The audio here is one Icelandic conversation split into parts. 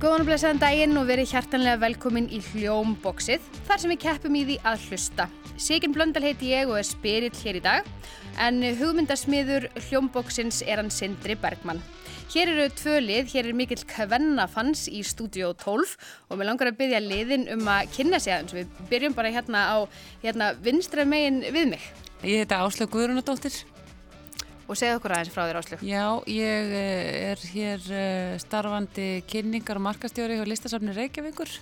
Góðan og blessaðan daginn og verið hjartanlega velkomin í Hljómboxið, þar sem við keppum í því að hlusta. Sigin Blöndal heiti ég og er spyrill hér í dag, en hugmyndasmiður Hljómboxins er hann Sindri Bergmann. Hér eru tvö lið, hér er mikill kvennafans í Studio 12 og mér langar að byrja liðin um að kynna sig aðeins. Við byrjum bara hérna á hérna, vinstra megin við mig Ég heita Áslaug Guðrunadóttir. og segja okkur aðeins frá þér áslug. Já, ég eh, er hér eh, starfandi kynningar og markastjóri hjá Listasafni Reykjavíkur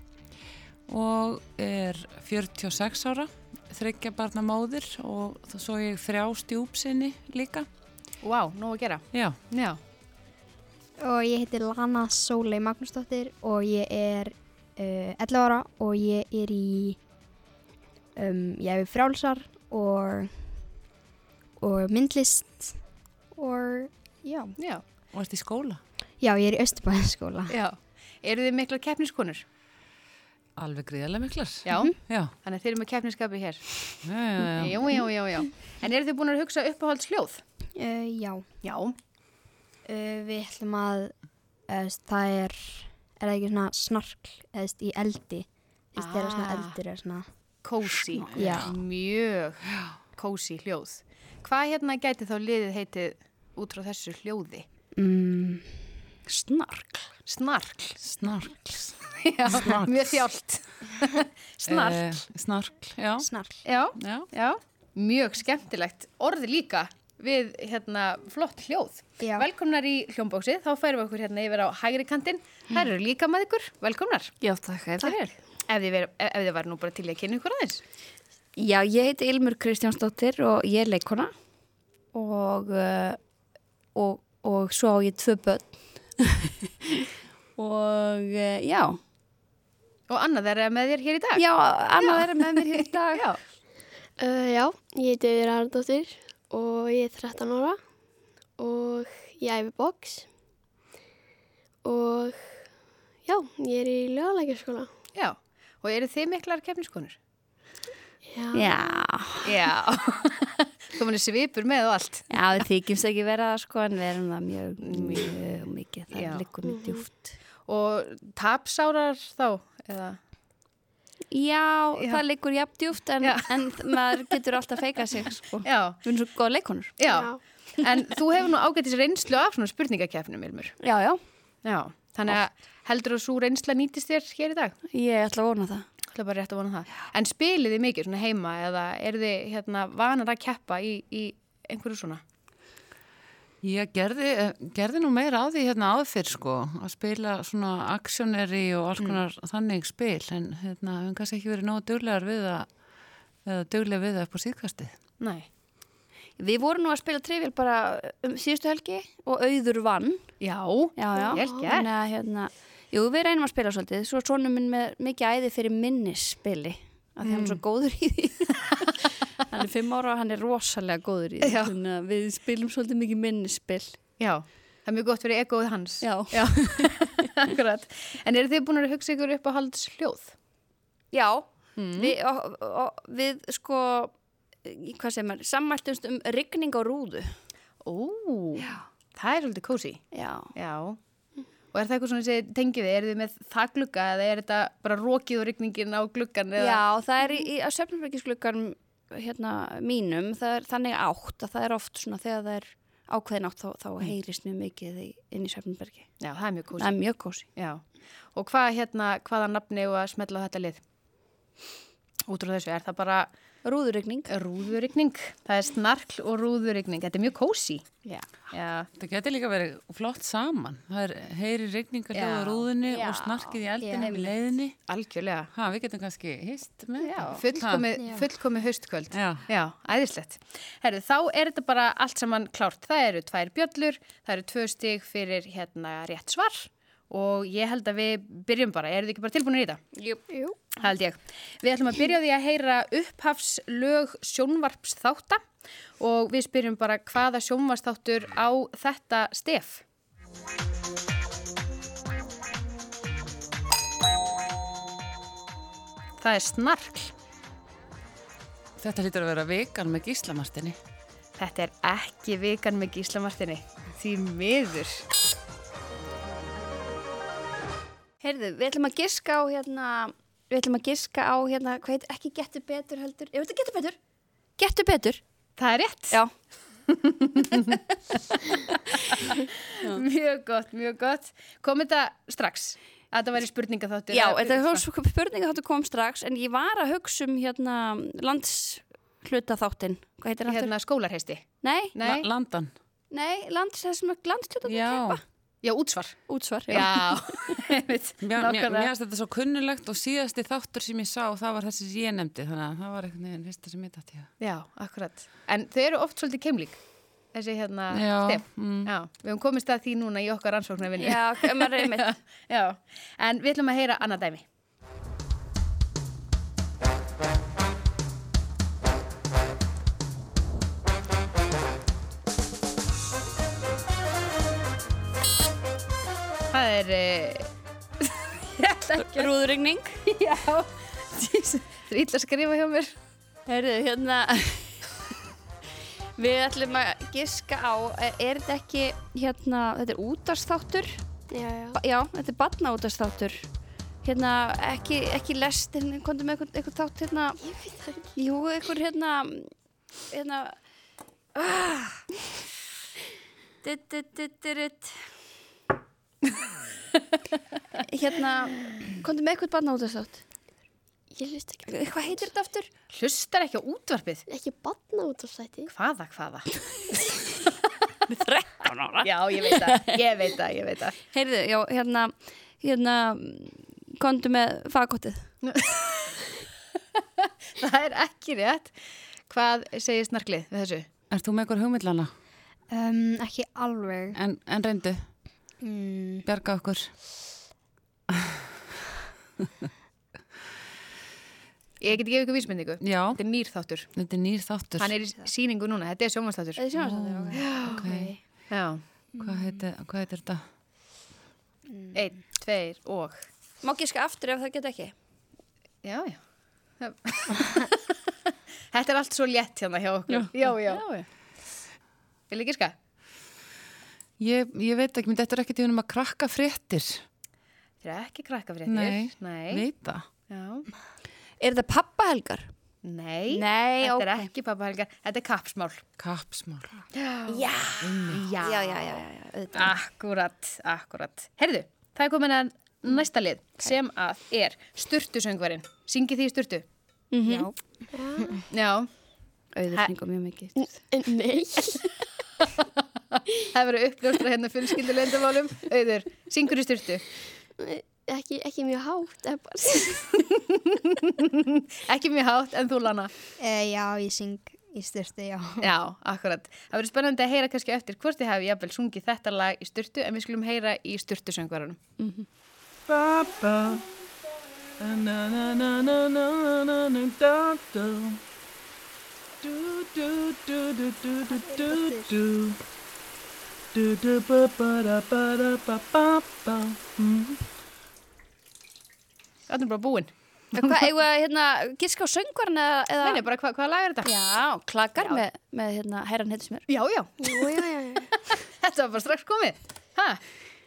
og er 46 ára, þryggja barna móðir og þó svo ég þrjá stjúpsinni líka. Vá, wow, nóg að gera. Já, Já. Og ég heiti Lana Sólei Magnúsdóttir og ég er uh, 11 ára og ég er í, um, ég er frjálsar og, og myndlist og já. Já. og ert í skóla. Já, ég er í Östubæðaskóla. Já. Eru þið miklar keppniskonur? Alveg gríðarlega miklar. Já. Já, Þannig að þeir eru með keppniskapi hér. já, já. já. Já, já, já, já. En eru þið búin að hugsa uppáhalds hljóð? Uh, já, Já. uh, við ætlum að, uh, það er, er það ekki svona snarkl eða þú veist, í eldi? Þú veist, þegar svona Ah. eldir er svona... Kósi. Já. Mjög kósi hljóð. Hvað hérna gæti þá liðið heitið út frá þessu hljóði? Mm, Snark. Snarkl. Snarkl. Já, Snarkl. mjög þjált. Snarkl. Eh, snarkl, já. snarkl. Já, Já, já. Mjög skemmtilegt. Orð líka við hérna flott hljóð. Já. Velkomnar í hljómbóksið. Þá færum við okkur hérna yfir á hægri kantinn. Þær eru líka með ykkur. Velkomnar. Já, takk. Takk. Ef þið, ver, ef þið var nú bara til í að kynna ykkur aðeins. Já, ég heiti Ilmur Kristjánsdóttir og ég er leikona og, eh, og, og svo á ég tvö börn og eh, já, Og Anna þær er með þér hér í dag. já, annað er með mér hér í dag. Já. Uh, já, ég heiti Auður Arndóttir og ég er 13 ára og ég æfi box og já, ég er í löguleikaskóla. Já, og eru þið miklar keppniskonur? Já. Já, Já, komin er svipur með og allt. já, við þykjumst ekki vera það sko en við erum það mjög, mjög mikið, það Já. liggur mjög djúft. Og tapsárar þá, eða? Já, Já. það liggur jafn djúft en, Já. en maður getur alltaf feikað sig sko. Já, Við erum svo góða leikonur. já, en þú hefur nú ágættis reynslu af svona spurningakeppnum, Ilmur. Já, já, Já, þannig að heldur þú að svo reynsla nýtist þér hér í dag? ég ætla að vona það. Það er bara rétt að vona það. En spilið þið mikið svona heima eða eru þið hérna vanar að keppa í, í einhverju svona? Ég gerði, eh, gerði nú meira á því hérna áður fyrr sko, að spila svona aksjóneri og alls konar þannig spil, en hérna hefum kannski ekki verið nógu duglegar við að, eða duglega við það upp á síðkastið. Nei. Við vorum nú að spila trivial bara um síðustu helgi og auður vann. Já, Já, já. vel gert. Þannig að hérna, jú, við reynum að spila svolítið. Svo er sonur minn með mikið æði fyrir minnisspili. Af því hann er svo góður í því. hann er fimm ára og hann er rosalega góður í því. Já. Þannig að við spilum svolítið mikið minnisspil. Já, það er mjög gott fyrir egoð hans. Já. Já, akkurat. En eru þið búin að hugsa ykkur upp á halds hljóð? Já, við, og, og, við sko, í- hvað segir maður, sammæltumst um rigning á rúðu. Ó, það er svolítið kósi. Já. Já. Og er það eitthvað svona sem þið tengið þið? Er þið með það glugga eða er þetta bara rókið og rigningin á gluggan? Eða? Já, það er í, í að söfnumverkisgluggan hérna mínum, það er þannig átt að það er oft svona þegar það er ákveðin átt þá, þá heyrist mjög mikið í, inn í söfnumverki. Já, það er mjög Það kósi. er mjög kósi. Já. Og hvað hérna, hvaða nafni og að smetla á þetta lið? Út úr þessu, er það bara Rúðurregning. rúðurigning? Það er snarkl og rúðurigning. Þetta er mjög kósi. Já. Já. Það getur líka verið flott saman, það er heyri regningar hljóða Já. rúðinu Já. og snarkið í eldinu í leiðinni. Algjörlega. Ha, við getum kannski hist með Já, þetta. fullkomið, fullkomið haustkvöld. Já. æðislegt. Herru, þá er þetta bara allt saman klárt. Það eru tvær bjöllur, það eru tvö stig fyrir hérna rétt svar og ég held að við byrjum bara. Eru þið ekki bara tilbúinir í þetta? Jú. Það held ég. Við ætlum að byrja á því að heyra upphafslög sjónvarpsþátta og við spyrjum bara hvaða sjónvarpsþáttur á þetta stef. Það er snarkl. Ha, þetta lítur að vera vikan með gíslamartinni. Þetta er ekki vikan með Gísla Martini. Því miður. Heyrðu, við ætlum að giska á hérna, við ætlum að giska á hérna, hvað heitir, ekki getur betur heldur, ég veit að getur betur, getur betur, Það er rétt. já, Mjög gott, mjög gott. Kom þetta strax? Að þetta væri spurninga þáttur? já, þetta er spurninga þáttu kom strax, en ég var að hugsa um hérna landsluta þáttin, hvað heitir hann? aftur? Hérna skólarheisti. Nei, Nei? La- Landan. nei, lands, það sem er landsluta þáttin Já, keppa, Já, útsvar. útsvar, já. Já, einmitt. mér mér- mér nákvæmlega. finnst þetta svo kunnulegt og síðasti þáttur sem ég sá, það var þessi sem ég nefndi, þannig að það var einhvern veginn fyrsta sem ég dætti. Já, akkurat. En þau eru oft svolítið keimlík. Þessi hérna Já, stef. mm. Já, við höfum komist að því núna í okkar rannsóknarvinni. Já, ok, um maður er einmitt. Já, en við ætlum að heyra annað dæmi. Það er... eh, Ég ætla ekki að... Rúðringning. Já, það er illa að skrifa hjá mér. Heyrðu, hérna Við ætlum að giska á e, Er þetta ekki, hérna Þetta er útastáttur Já, já. Já, þetta er batna útastáttur Hérna, ekki, ekki lest hérna, Komdu með eitthvað, eitthvað þátt hérna Ég veit það ekki. Jú, eitthvað hérna Hérna ah. Ditt, ditt, ditt, ditt Hérna Komdu með eitthvað batna útastátt Ég hlust ekki. Hvað heitir þetta aftur? Hlustar ekki á útvarpið. Ekki batna út af sæti. Hvaða, hvaða? 13 ára Já, ég veit það, ég veit það, ég veit það. Heyrðu, já, hérna, hérna, kontu með fagkottið. Það er ekki rétt. Hvað segir snarklið við þessu? Er þú með eitthvað hugmyndlana? Um, ekki alveg. En, en reyndu, Mm, bjarga okkur. Ég get gefið ykkur vísmyndingu. Já, Þetta er nýr þáttur. þetta er nýr þáttur. Hann er í síningu núna, þetta er sjómanstáttur. Það er sjónarstættur, ok. okay. Já, Hvað heitir, hvað heitir þetta? einn, tveir og... Má gíska aftur ef það get ekki. Já, já. þetta er allt svo létt hérna hjá okkur. Já, já. já, já. Vil ég giska? Ég, ég veit ekki, mér þetta er ekkert í húnum að krakka fréttir. Þetta er ekki krakkafréttir. Nei, Nei. veit það. Já. Er þetta pappahelgar? Nei. Nei, Þetta er ekki pappahelgar, þetta er kapsmál. Kapsmál. Já. Já, já, já, já, já, auðvitað. Akkurat, akkurat. Herðu, það er komin að næsta lið sem að er styrtusöngvarinn. Syngi því styrtu? Mm -hmm. Já. Auðvitað syngur mjög mikið. En nei. Það verður uppljóstra hérna fullskildu leyndamálum. Auður, syngur í styrtu? Ekki, ekki mjög hátt. eða bara- Ekki mjög hátt en þú lana. uh, já, ég syng í styrtu, já. Já, akkurat. Það verður spennandi að heyra kannski eftir hvort þið hafi jafnvel sungið þetta lag í styrtu en við skulum heyra í styrtusöngvarunum. Ba-ba. Na-na-na-na-na-na-na-na-da-da. Du-du-du-du-du-du-du-du. Du-du-ba-ba-da-ba-da-ba-ba-ba. Mm. Það er bara búinn. Hvað, eigum við að, hérna, gíska á söngvarn eða... eða... Nei, nei, bara hva, hvaða lag er þetta? Já, klakar með, með, hérna, herran heitir sem er. Já, já. Jú, já, já, já. Þetta var bara strax komið. Hæ?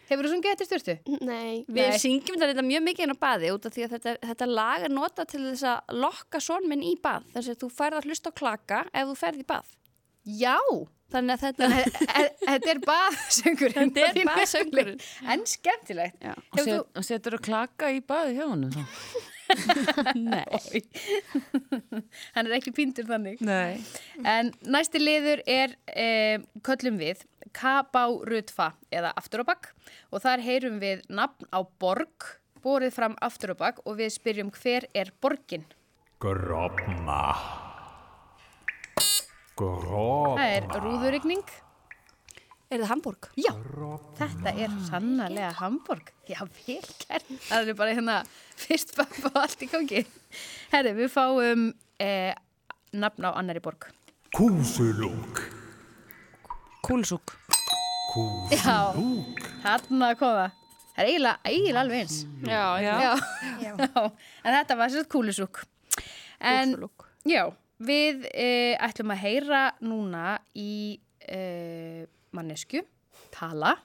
Hefur þú sungið eftir styrtu? Nei. Við Nei. syngjum þetta mjög mikið inn á baði út af því að þetta, þetta lag er nota til þess að lokka són minn í bað. Þess að þú færð að hlusta á klaka ef þú færð í bað. Já. Þannig að þetta... E- e- Þetta er baðsöngurinn Þetta er baðsöngurinn. En skemmtilegt Já. Og Hefur set- og setur að klaka í baði hjá honum þá? Nei. þú... Hann er ekki píndur þannig Nei. En næsti liður er um, köllum við Kabárutfa eða afturabak og þar heyrum við nafn á borg borið fram afturabak og við spyrjum hver er borgin Gropma. Gropma. Það er rúðurigning Er það Hamburg? Já, þetta er sannarlega Hamburg. Já, vel gert. Það er bara hérna fyrst bæp og allt í gangi. Herri, við fáum eh, nafn á annari borg. Kúsulúk. Kúlsúk. Kúsulúk. Já, þarna kom það. Það er eiginlega, eiginlega alveg eins. Já, Já. Já. en þetta var sérst kúlusúk. En, já, við eh, ætlum að heyra núna í eh, mannesku, tala,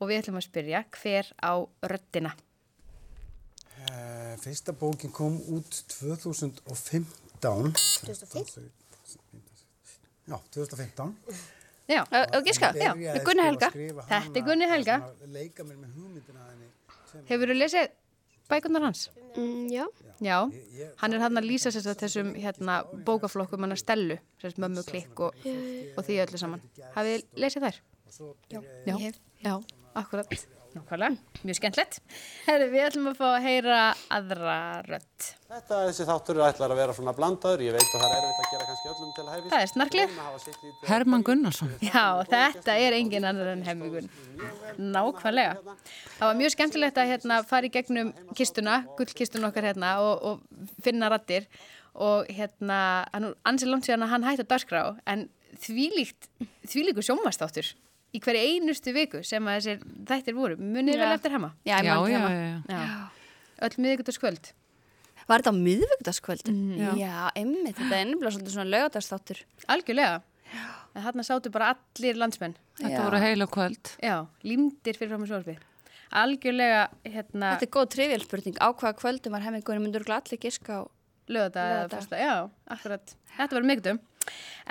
og við ætlum að spyrja hver á röddina. Eh, Fyrsta bókin kom út 2015. 2015? Já, 2015. Já, Og gíska, já, Byrjaði með Gunni sko Helga. að skrifa Þetta er hana, Gunni Helga. svona Leika mér með hugmyndina að henni. tveimur- hefur þú lesið bækunar hans? Mm, já, Já, hann er hann að lýsa sér þetta þessum hérna, bókaflokkum hann að stellu, sérst mömmu klikk og, og því öllu saman. Hafið þið lesið þær? Já, Ég hef. já, akkurat. Nákvæmlega, mjög skemmtlegt. Herri, við ætlum að fá að heyra aðra rödd. Þetta þessi þáttur ætlar að vera svona blandaður, ég veit að það er erfitt að gera kannski öllum til hæfis. Það er snarklið. Reyna að hafa sitt lítið- Herman Gunnarsson. Já, þetta er engin annar en hemmingun. Nákvæmlega. Það var mjög skemmtilegt að hérna, fara í gegnum kistuna, gullkistuna okkar hérna og, og finna rattir og hérna, hann er ansið langt síðan að hann hætti að dagskrá en þvílíkt, þvílíku sjónvastáttur í hverju einustu viku sem að þessir þættir voru. Munið vel Já. eftir hema? Já, Já, já, já. já. Já. Öll miðvikutaskvöld. Var þetta á miðvíkudagskvöldi? Mm, Já, einmitt, þetta er ennumlega svolítið svona laugardagstáttur. Algjörlega. En þarna sátu bara allir landsmenn. Þetta voru heila kvöld. Já, límdir fyrir fram í Algjörlega, hérna... Þetta er góð trivial spurning, á hvaða kvöldum var hemmið Gunni myndur allir giska á lögðardag eða Laugardag. fyrsta, já, akkurat þetta var mikdum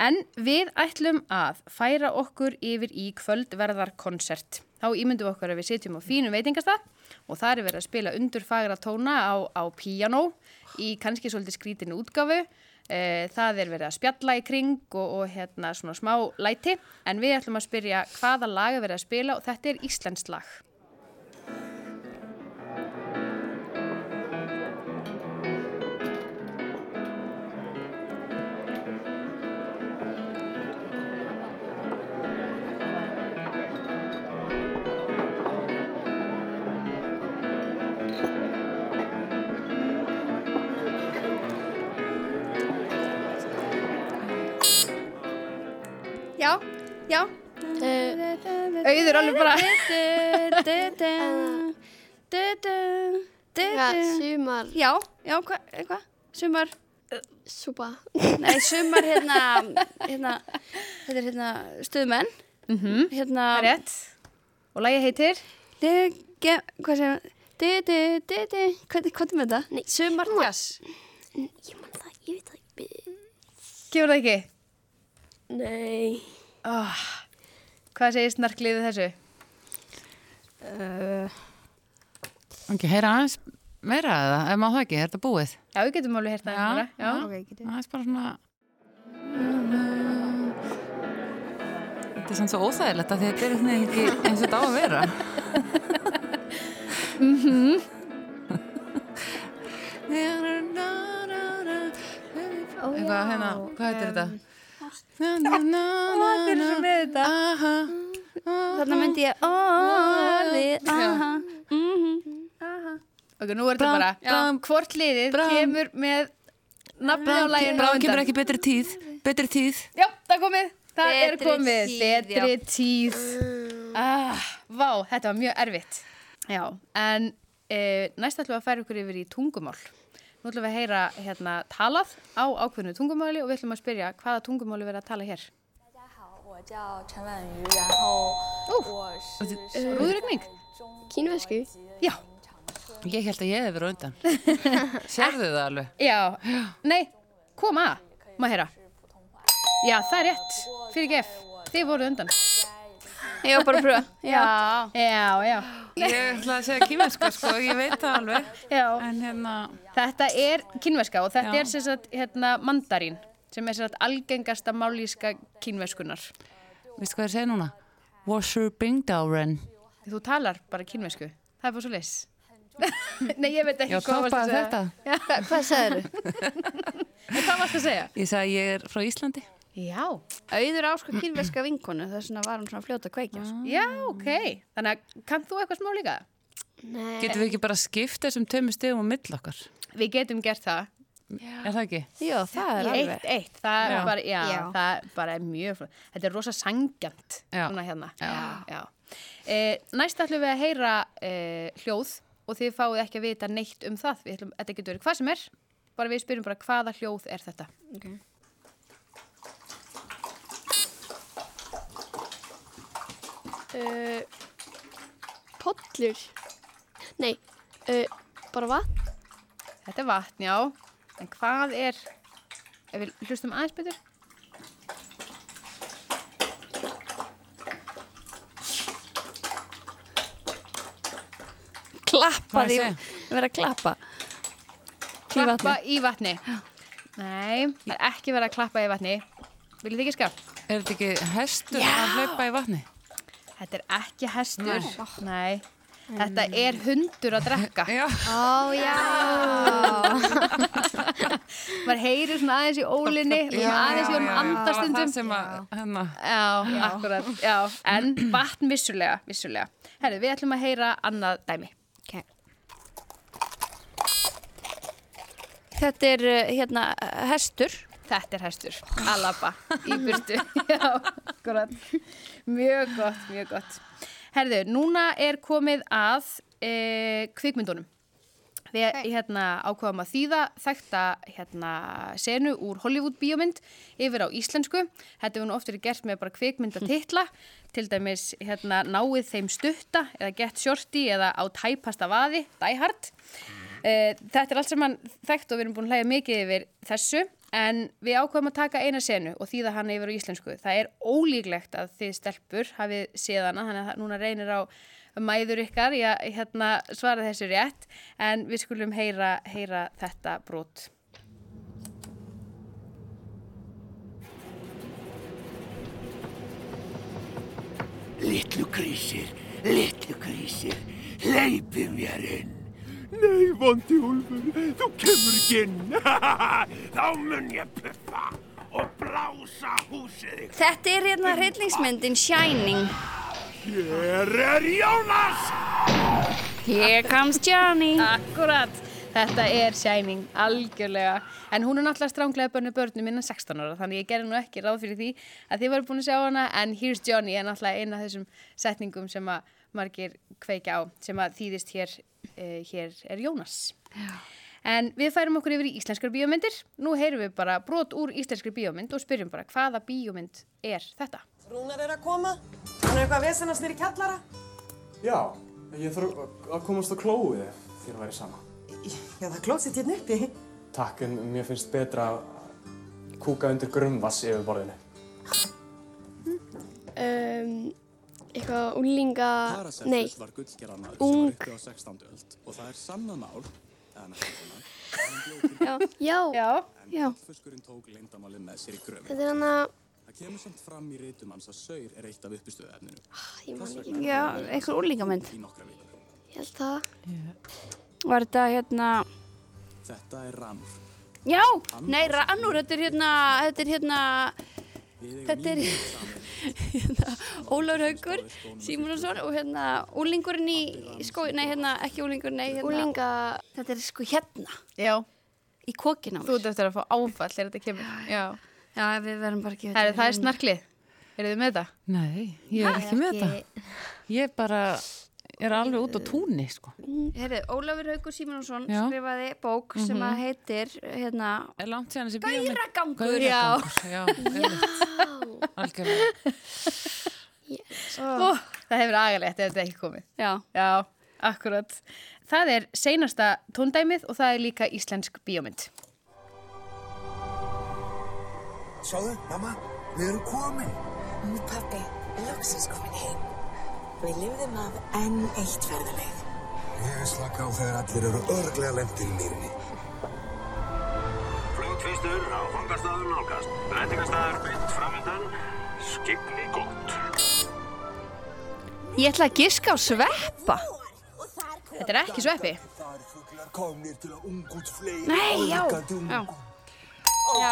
en við ætlum að færa okkur yfir í kvöldverðarkonsert þá ímyndum við okkur að við sitjum á fínum veitingastað og þar er verið að spila undurfagra tóna á, á píjanó í kannski svolítið skrítinu útgafu Eh, það er verið að spjalla í kring og, og hérna svona smá læti en við ætlum að spyrja hvaða lag er verið að spila og þetta er Íslands lag Já, já Eh, Auður alveg bara já, sumar, Já, já, hvað, hva? sumar súpa, Nei, sumar hérna, hérna Þetta er hérna stuðmenn -hmm. Hérna Rétt Og lagi heitir Lege, Hvað segir hann? Di, di, di, di Hvað hvað er með þetta? Nei, sumar Gass ég man það, ég veit það ekki. Gefur það ekki? Nei. Oh, hvað segir snarklið við þessu? Ok, heyra aðeins meira eða, ef maður það ekki, er þetta búið? Já, við getum alveg hérna Já, hérna. Já. Ok, getur. Aðeins bara svona... Þetta er svona svo óþægilegt að þetta er einhvern veginn ekki eins og þetta á að vera. Eitthvað, hérna, hvað heitir þetta? Hvað er þessu með þetta? Aha, Þarna myndi ég Orðið Aha Ok, nú er þetta bara, bram, hvort liðið bram. kemur með nafni á læginu bráðum kemur ekki betri tíð, betri tíð. Já, það er komið, það er Betri komið, tíð, betri tíð. Ah, vá, þetta var mjög erfitt. Já, en e, næst ætlum við að færa ykkur yfir í tungumál. Nú ætlum við að heyra hérna talað á ákveðnu tungumáli og við ætlum að spyrja hvaða tungumáli verið að tala hér. Rúðurregning? Kínvesku? Já. Ég held að ég hefði verið á undan. Sérðu það alveg? Já, nei, koma, maður heyra. Já, það er rétt, fyrir gef, þið voru undan. Ég var bara að pröfa Já Já, já, Ég ætla að segja kýmverska sko, ég veit það alveg. já. En hérna, Þetta er kynverska og þetta Já. er sem sagt hérna mandarín sem er sem sagt algengasta málíska kynverskunar. veistu hvað ég segi núna? Washer Bingdáren. Þú talar bara kynversku, það er bara svo leys. nei, ég veit ekki Já, hvað varst að toppaði segja. þetta. Hva, Hvað sagðir þú? En Hvað varst að segja? Ég sagði ég er frá Íslandi. Já, Auður ásko kýrverska vinkonu þess vegna var hún svona fljóta að kveikja sko. já, ok. Þannig að kannt þú eitthvað smá líka? Nei. Getum við ekki bara skipta þessum tömmu stegum á mill okkar? Við getum gert það. Er það ekki? Já, það er Eitt, alveg eitt, það Já. er bara, já, Já. það er bara mjög flott. Þetta er rosa sangjant, Já. svona hérna. Já. Já. E, næst ætlum við að heyra e, hljóð og þið fáið ekki að vita neitt um það. Við ætlum, þetta getur verið hvað sem er, bara við spyrjum bara hvaða hljóð er þetta. Uh, pollur? Nei, uh, eh, bara vatn? Þetta er vatn, já. En hvað er, ef við hlustum aðeins betur? Klappa Hvað ég því, segi? vera að klappa. klappa vatni. í vatni Nei, það er ekki verið að klappa í vatni Viljið þið ekki skap? Er þetta ekki hestur að hlaupa í vatni? Þetta er ekki hestur Nei, Þetta er hundur að drekka Já, Ó, já. Maður heyrir svona aðeins í ólinni og svona aðeins í honum Það var það andastundum sem að, hérna, Já, akkurat já. En vatn vissulega, vissulega. Herru, við ætlum að heyra annað dæmi Ok. Þetta er eh, hérna eh, hestur. Þetta er hestur, alaba, í burtu. Já, akkurat. Mjög gott, mjög gott. Herðu, núna er komið að e, kvikmyndunum. Við hérna, ákvaðum að þýða þekta hérna, senu úr Hollywood bíómynd yfir á íslensku. Þetta hefur nú oft verið gert með bara kvikmyndatitla, til dæmis hérna, náið þeim stutta eða gett sjorti eða á tæpasta vaði, Die Hard. Eh, Þetta er allt saman þekkt og við erum búin að hlæja mikið yfir þessu en við ákveðum að taka eina senu og þýða hana yfir á íslensku. Það er ólíklegt að þið stelpur hafið séð hana þannig að það- núna reynir á mæður ykkar í að hérna, svara þessu rétt en við skulum heyra, heyra þetta brot. Littlu grísir, littlu grísir, hleypi mér inn. Nei, vondi úlfur, þú kemur ekki inn. Þá mun ég puffa og blása húsið ykkur. Þetta er hérna hryllingsmyndin Shining. Hér er Jónas! Here comes Johnny. Akkurat, þetta er Shining, algjörlega. En hún er náttúrulega stránglega bönnu börnum innan 16 ára, þannig ég gerði nú ekki ráð fyrir því að þið varu búin að sjá hana, en Here's Johnny er náttúrulega eina af þessum setningum sem að margir kveikja á, sem að þýðist hér, uh, hér er Jónas. En við færum okkur yfir í íslenskar bíómyndir. Nú heyrum við bara brot úr íslenskri bíómynd og spyrjum bara hvaða bíómynd er þetta? Rúnar er að koma. Hann er eitthvað að vesennast nýri kjallara. Já, ég þarf að- að komast á klóið ef þér væri sama. Já, það klósið hérna uppi. Takk, en mér finnst betra að kúka undir grumvass yfir borðinu. um, eitthvað úlinga, nei, var gullgerðana Ung. á 16. öld og það er sannað mál. já, já, Já, já. Fiskurinn tók leindamáli með sér í grömi. þetta er hann að, Það kemur samt fram í rítum hans að saur er eitt af uppistöðuefninu ég man ekki, Já, einhver úrlingamynd. í nokkra vikur. ég held það, Var þetta hérna... Þetta er ramur. Já, nei, rannur, þetta er hérna, þetta er hérna, þetta er hérna, Ólafur Haugur, Símunasson og hérna, úlingurinn í skói, nei, hérna, ekki úlingurinn, nei, hérna. úlinga, Þetta er sko hérna, já, í kokkin á þú mér. ert eftir að fá áfall er þetta kemur. Já, Já, við verðum bara ekki Herri, það er snarklið. Eru þið með þetta? nei, ég er ekki með þetta. Ég bara er alveg út á túnni, sko. Herri, Ólafur Haugur Símunasson Já. skrifaði bók sem að heitir, hérna, Er langt síðan þessi bíómynd? Gauragangur, Gauragangur, já. einmitt. Algjörlega. Ó, það hefur agalegt ef þetta ekki komið. já, Já, akkurat. Það er seinasta tóndæmið og það er líka íslensk bíómynd. Sjáðu, mamma, við erum komin. Nú, pappi, loksins komin heim. Við lifðum af enn eitt ferðarleið. Ég er slaka á þegar allir eru örglega lendir í mýrinni. Flugtvistur á fangastæður nálgast. Lendingastæður beint framöndan. Skipni gott. ég ætla að giska á sveppa. Þetta er ekki sveppi. Það eru fuglar komnir til að ungut fleiri. Nei, já. Já.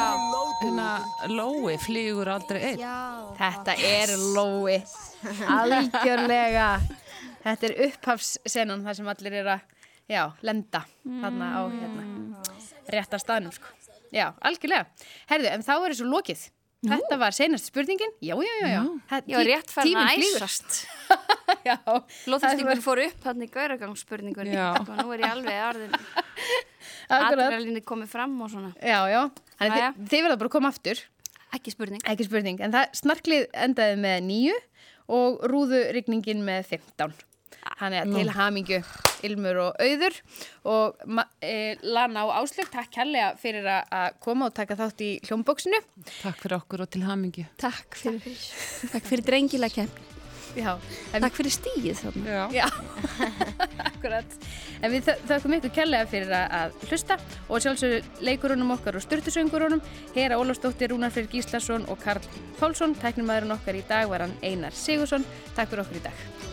Hérna, Lói flýgur aldrei einn. Þetta er Lói. Algjörlega. Þetta er upphafssenan þar sem allir eru að já, lenda þarna á hérna, rétta staðnum. Sko. Já, algjörlega. Herðu, en þá er þessu lokið. Þetta var seinasta spurningin. Já, já, já. já. Þetta- Ég var rétt farin tíminn að flýgur. æsast. Já. Blóðþrýstingur fór upp hann í gauragangsspurningunni Já. og nú er ég alveg orðin Akkurat. adrenalinni komið fram og svona Já, já. Þannig Jæja. þið, þið verða bara að koma aftur, ekki spurning ekki spurning. En það snarklið endaði með nýju og rúðurigningin með 15. Þannig að til Nú. hamingju Ilmur og Auður og ma- eh, Lana og Áslög, takk kærlega fyrir að- að koma og taka þátt í hljómbóksinu. Takk fyrir okkur og til hamingju. Takk fyrir, takk fyrir drengila kemni. Já. Takk fyrir stíð þannig. Já. Já, akkurat. En við þö- þökkum ykkur kærlega fyrir að- að hlusta og sjálfsögur leikurunum okkar og styrtusöngurunum, Hera Ólafsdóttir, Rúnar Freyr Gíslason og Karl Pálsson, tæknumæðurinn okkar í dag var hann Einar Sigursson. Takk fyrir okkur í dag.